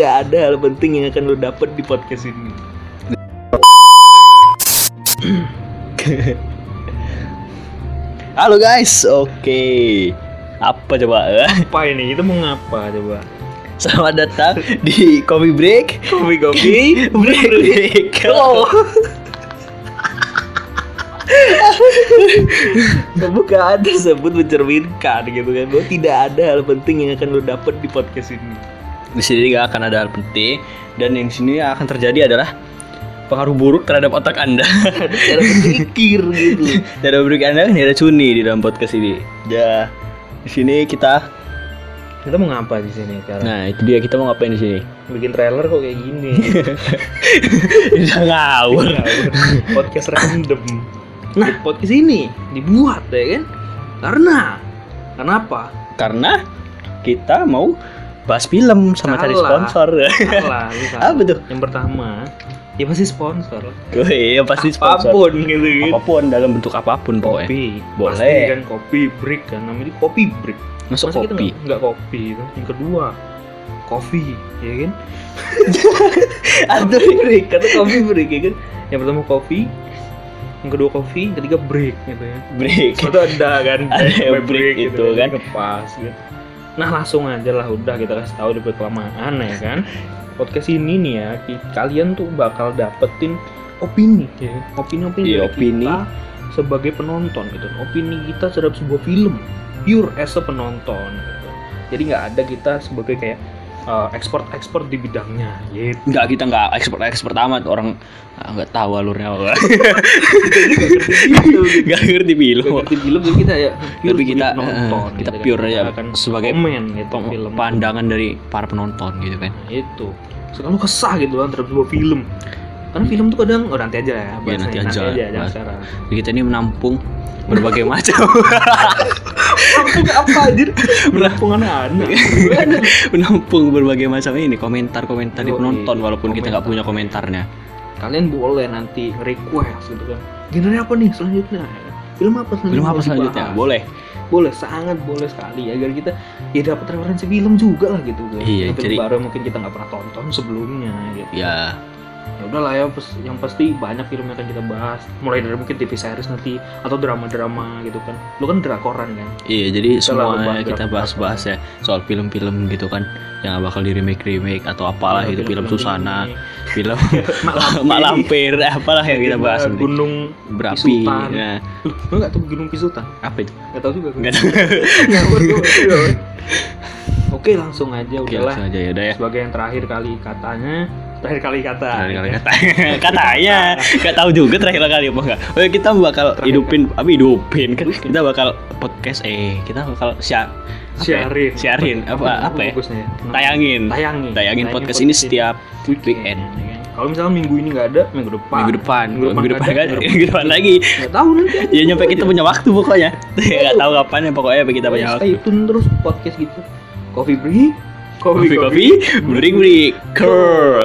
Gak ada hal penting yang akan lo dapet di podcast ini. Halo guys, oke. Apa coba? apa ini? Itu mau ngapa coba? Selamat datang di Coffee Break. Kopi kopi. break break. Oh. Pembukaan tersebut mencerminkan gitu kan bahwa tidak ada hal penting yang akan lo dapet di podcast ini. Di sini nggak akan ada hal penting dan yang sini akan terjadi adalah pengaruh buruk terhadap otak anda. Cara berpikir gitu. terhadap buruk anda kan ada Cuni di dalam podcast ini. Ya. Di sini kita, Kita mau ngapa di sini sekarang? nah itu dia kita mau ngapain di sini? Bikin trailer kok kayak gini. Udah ngawur. podcast random. Nah, podcast ini dibuat ya kan? Karena karena apa? Karena kita mau bahas film sama cari Salah. sponsor. Salah, ini salah. Apa tuh? Yang pertama, ya pasti sponsor. Gue ya pasti sponsor. Apapun gitu gitu. Apapun dalam bentuk apapun pokoknya. Kopi, Boleh. Pasti kan kopi break kan namanya kopi break. Masuk Masa kita kopi. gitu nggak- nggak kopi itu. Yang kedua, kopi, ya kan? Atau break, kata kopi break ya kan? Yang pertama kopi, yang kedua kopi, yang ketiga break gitu ya. Break. itu ada kan Ada yang break, break gitu kan. kepas gitu nah langsung aja lah udah kita kasih tahu daripada kelamaan ya kan podcast ini nih ya ki- kalian tuh bakal dapetin opini ya opini opini Iya, opini. kita sebagai penonton gitu opini kita terhadap sebuah film pure as a penonton gitu. jadi nggak ada kita sebagai kayak ekspor ekspor di bidangnya gitu Enggak, kita enggak expert expert amat orang ah, enggak tahu alurnya apa. Enggak ngerti Nggak film. ngerti film jadi kita ya pure Tapi kita sebagai penonton, eh, kita gitu kan. pure ya akan sebagai komen gitu pem- film pandangan dari para penonton gitu kan. Nah, itu selalu kesah gitu kan terhadap sebuah film karena film tuh kadang oh, nanti aja lah ya bahasanya. Iya, nanti aja, jangan bahas. sekarang Jadi kita ini menampung berbagai macam kampung apa anjir berapung anak-anak Iya. Gimana? menampung berbagai macam ini komentar-komentar di Yoi, penonton walaupun kita nggak komentar. punya komentarnya. kalian boleh nanti request gitu kan genre apa nih selanjutnya film apa selanjutnya Belum apa mau selanjutnya? dibahas? Boleh. boleh sangat boleh sekali agar kita ya dapat referensi film juga lah gitu kan Iya, Film jadi- baru yang mungkin kita nggak pernah tonton sebelumnya gitu Ya, ya udahlah ya pes- yang pasti banyak film yang akan kita bahas mulai dari mungkin TV series nanti atau drama-drama gitu kan lu kan drakoran kan iya jadi Setelah semua bahan kita draft- bahas-bahas ya soal film-film gitu kan yang nggak bakal di remake-remake atau apalah Kalau gitu film Susana, ini. film Mak Lampir. Mak Lampir, eh, apalah yang kita bahas nanti. gunung berapi Pisutan. nah, Lu- lu nggak tahu gunung pisutan apa itu nggak tahu juga gue. nggak tahu Nggak tahu, nggak tahu, nggak tahu. oke langsung aja oke udahlah langsung aja ya udah ya sebagai yang terakhir kali katanya terakhir kali kata Terakhir kali ya. kata katanya nggak tahu juga terakhir kali apa enggak oke kita bakal Terakhir hidupin apa hidupin kan kita bakal podcast eh kita bakal siar apa ya? siarin siarin apa apa ya fokusnya ya? tayangin tayangin tayangin podcast ini setiap weekend Ya kan? kalau misalnya minggu ini nggak ada minggu depan minggu depan minggu depan nggak kan ada, minggu depan lagi nggak tahu nanti aja. ya nyampe kita punya waktu pokoknya nggak tahu kapan ya pokoknya sampai kita punya waktu stay tune terus podcast gitu coffee break kopi kopi break break curl